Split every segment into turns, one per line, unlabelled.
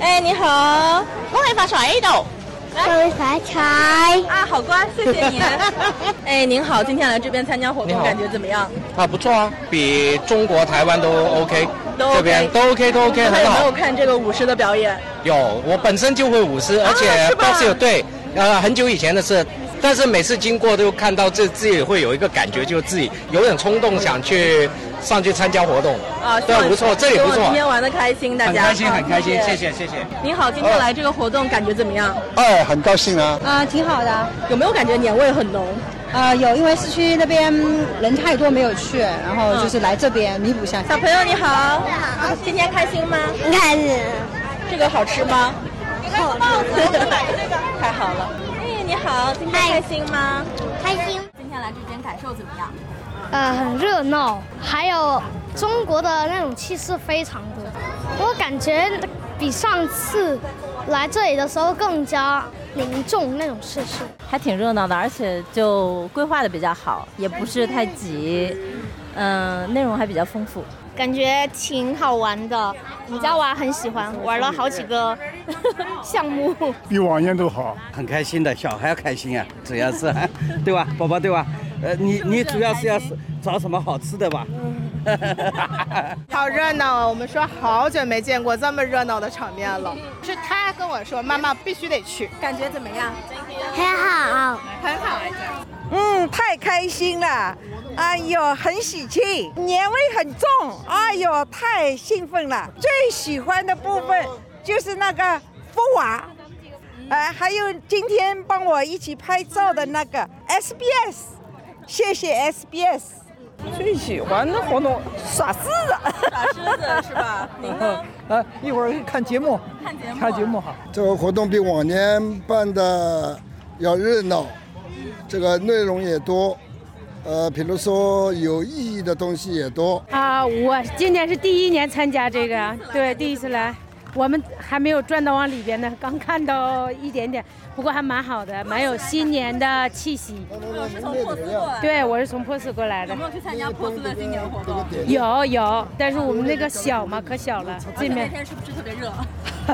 哎，你好，恭喜发财的！
恭喜发财！
啊，好乖，谢谢 您。哎，您好，今天来这边参加活
你
动，
好
感觉怎么样？
啊，不错啊，比中国台湾都 OK，
都 OK
这边都 OK 都 OK
刚才
很
有没有
好。
看这个舞狮的表演？
有，我本身就会舞狮，而且
是吧
box 有对，呃，很久以前的事，但是每次经过都看到这自己会有一个感觉，就自己有点冲动想去上去参加活动。
啊，希
对
望，
不错，这里不
希望
错
今，天玩的开心，大
很
家
开心，
好
很开心，谢。谢，谢谢。
您好，今天来这个活动感觉怎么样？
哎，很高兴啊！
啊，挺好的。
有没有感觉年味很浓？
啊，有，因为市区那边嗯人太多没有去，然
嗯
后就是来这边弥补一下。
小朋友你好，啊今天开心吗？
你看，
这个好吃吗？
好
太好了。哎，你好，今天开心吗？
开心。
今天来这边感受怎么样？
呃，很热闹，还有中国的那种气势非常多。我感觉比上次来这里的时候更加凝重那种气势。
还挺热闹的，而且就规划的比较好，也不是太挤，嗯、内容还比较丰富。
感觉挺好玩的，我们家娃很喜欢，玩了好几个 项目。
比往年都好。
很开心的，小孩要开心啊，主要是， 对吧，宝宝对吧？呃，你你主要是要是找什么好吃的 吧？
好热闹啊！我们说好久没见过这么热闹的场面了。是他跟我说，妈妈必须得去，
感觉怎么样？
很好，
很好。
嗯，太开心了，哎呦，很喜庆，年味很重，哎呦，太兴奋了。最喜欢的部分就是那个福娃，呃，还有今天帮我一起拍照的那个 SBS，谢谢 SBS。
最喜欢的活动，耍狮 子。
打狮子 是吧？您呢？
呃
啊，一会儿看节目，
看节目。
看节目哈。
这个活动比往年办的要热闹，这个内容也多，呃，比如说有意义的东西也多。
啊，我今年是第一年参加这个，对，第一次来。我们还没有转到往里边呢，刚看到一点点，不过还蛮好的，蛮有新年的气息。
我哦是从珀斯过来。
对，我是从珀斯过来的
有没，有去参加珀斯的新年 活动？
有有，但是我们那个小嘛，可小了，这
那
面，啊
天是不是特别热？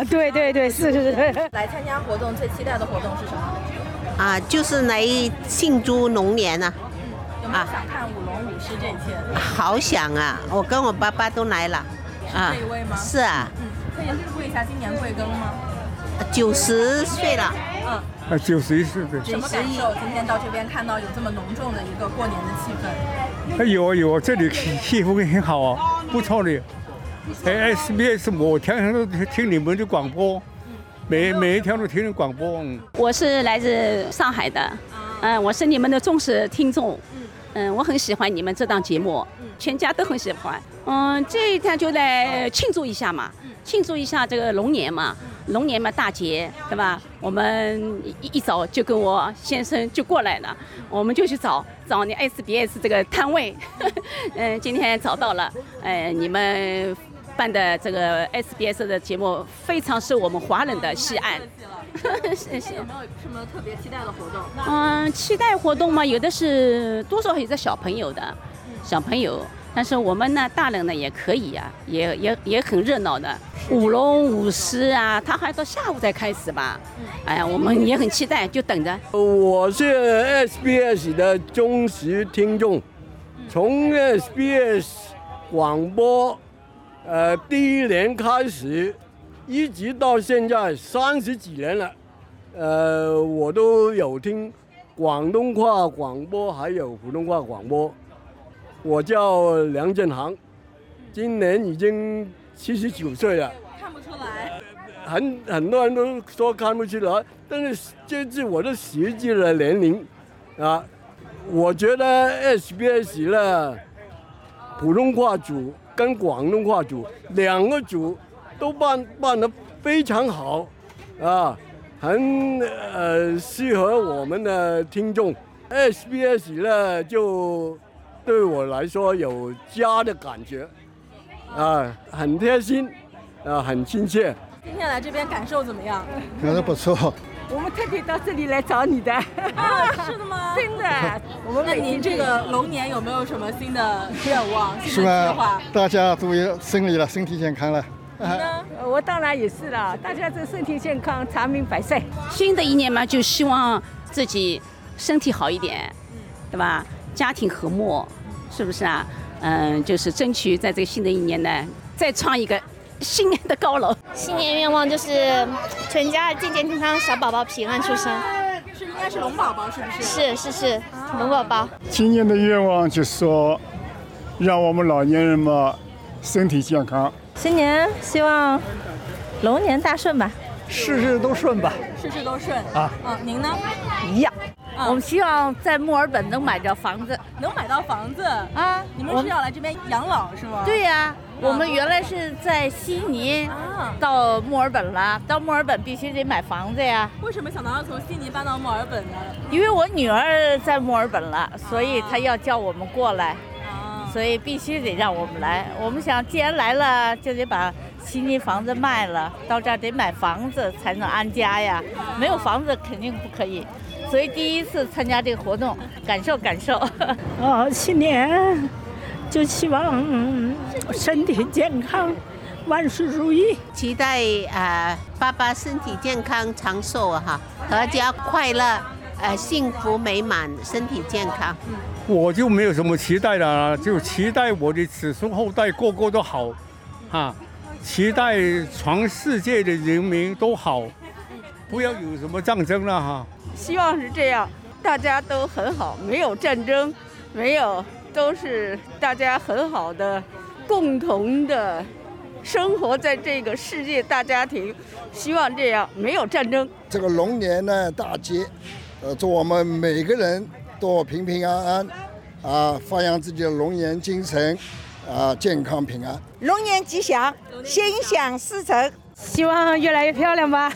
对对对，是是是。
来参加活动最期待的活动是什么？
啊，就是来庆祝龙年啊呐、
有没有想看舞龙舞狮这一切？
好想啊！我跟我爸爸都来了，啊
这一位吗
是啊，
嗯，可以问一下今年贵庚吗？
九十岁了，
嗯，
啊，九十一岁的，
什么感受？今天到这边看到有这么浓重的一个过年的气氛，
哎有有，这里气气氛很好啊，
嗯
不错的。
啊
哎，SBS，我天天都听你们的广播，每每一天都听你广播。嗯
嗯
啊
我是来自上海的，嗯，我是你们的忠实听众，嗯，我很喜欢你们这档节目，
嗯
全家都很喜欢，嗯，这一天就来庆祝一下嘛，
嗯
庆祝一下这个龙年嘛，龙年嘛大节，
嗯
对吧？我们一一早就跟我先生就过来了，
嗯
我们就去找找那 SBS 这个摊位，嗯，今天找到了，呃，你们。办的这个 SBS 的节目非常受我们华人的喜爱，
今
谢
天 有没有什么特别期待的活动？
嗯，期待活动嘛，有的是多少有的小朋友的，小朋友，但是我们呢，大人呢也可以呀、也也也很热闹的，舞龙舞狮啊，他还到下午才开始吧，
嗯
哎呀，我们也很期待，就等着。
呃我是 SBS 的忠实听众，从 SBS 广播，呃，第一年开始，一直到现在三十几年了，呃，我都有听广东话广播，还有普通话广播。我叫梁振航，今年已经七十九岁了。
看不出来，
很很多人都说看不出来，但是这是我的实际的年龄啊。我觉得 SBS 呢，普通话组跟广东话组两个组都办办得非常好啊，很呃适合我们的听众。SBS 呢，就对我来说有家的感觉啊，很贴心啊，很亲切。
今天来这边感受怎么样？
觉得不错，
我们特地到这里来找你的，
啊，是的吗？
真的。我 们
那您这个龙年有没有什么新的愿望、新
是
的计
吧
划？？
大家注意身体了，身体健康了，
呢？
我当然也是啦，大家这身体健康，长命百岁。
新的一年嘛，就希望自己身体好一点，
嗯
对吧？家庭和睦，是不是啊？嗯，就是争取在这个新的一年呢，再创一个新的高楼。
新年愿望就是全家健健康康，小宝宝平安出生。
是应该是龙宝宝，是不是？
是是是，龙宝宝。
今年的愿望就是说，让我们老年人嘛身体健康，
新年希望龙年大顺吧，
事事都顺吧。
事事都顺
啊
嗯，您呢？
一样。
我
们希望在墨尔本能买着房子。
能买到房子啊？你们
我
是
们
要来这边养老是吗？
对呀、我们
嗯
原来是在悉尼
啊
到墨尔本了，到墨尔本必须得买房子呀。
为什么想到要从悉尼搬到墨尔本呢？
因为我女儿在墨尔本了，所以她要叫我们过来，
啊
所以必须得让我们来。我们想，既然来了，就得把悉尼房子卖了，到这儿得买房子才能安家呀，没有房子肯定不可以。所以第一次参加这个活动，感受感受。
哦，新年就希望、嗯身体健康，万事如意。
期待呃爸爸身体健康长寿啊哈，阖家快乐，呃幸福美满，身体健康。
我就没有什么期待了，就期待我的子孙后代个个都好，啊，期待全世界的人民都好，不要有什么战争了哈。
希望是这样，大家都很好，没有战争，没有，都是大家很好的，共同的生活在这个世界大家庭。希望这样，没有战争。
这个龙年呢大吉，呃，祝我们每个人都平平安安，啊，发扬自己的龙年精神，啊，健康平安。
龙年吉祥，心想事成。希望越来越漂亮吧，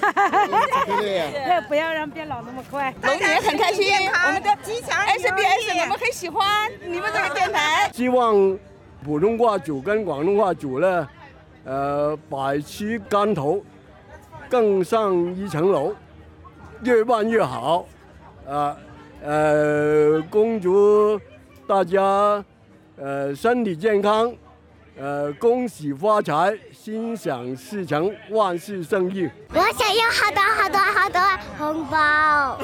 不要让变老那么快。
龙年很开心，我们的
吉祥如意
SBS 我们很喜欢你们这个电台。
希望普通话组跟广东话组呢，呃，百尺竿头，更上一层楼，越办越好，啊、呃，恭祝大家呃身体健康，呃，恭喜发财，心想事成，万事胜意。
我想要好多好多好多红包。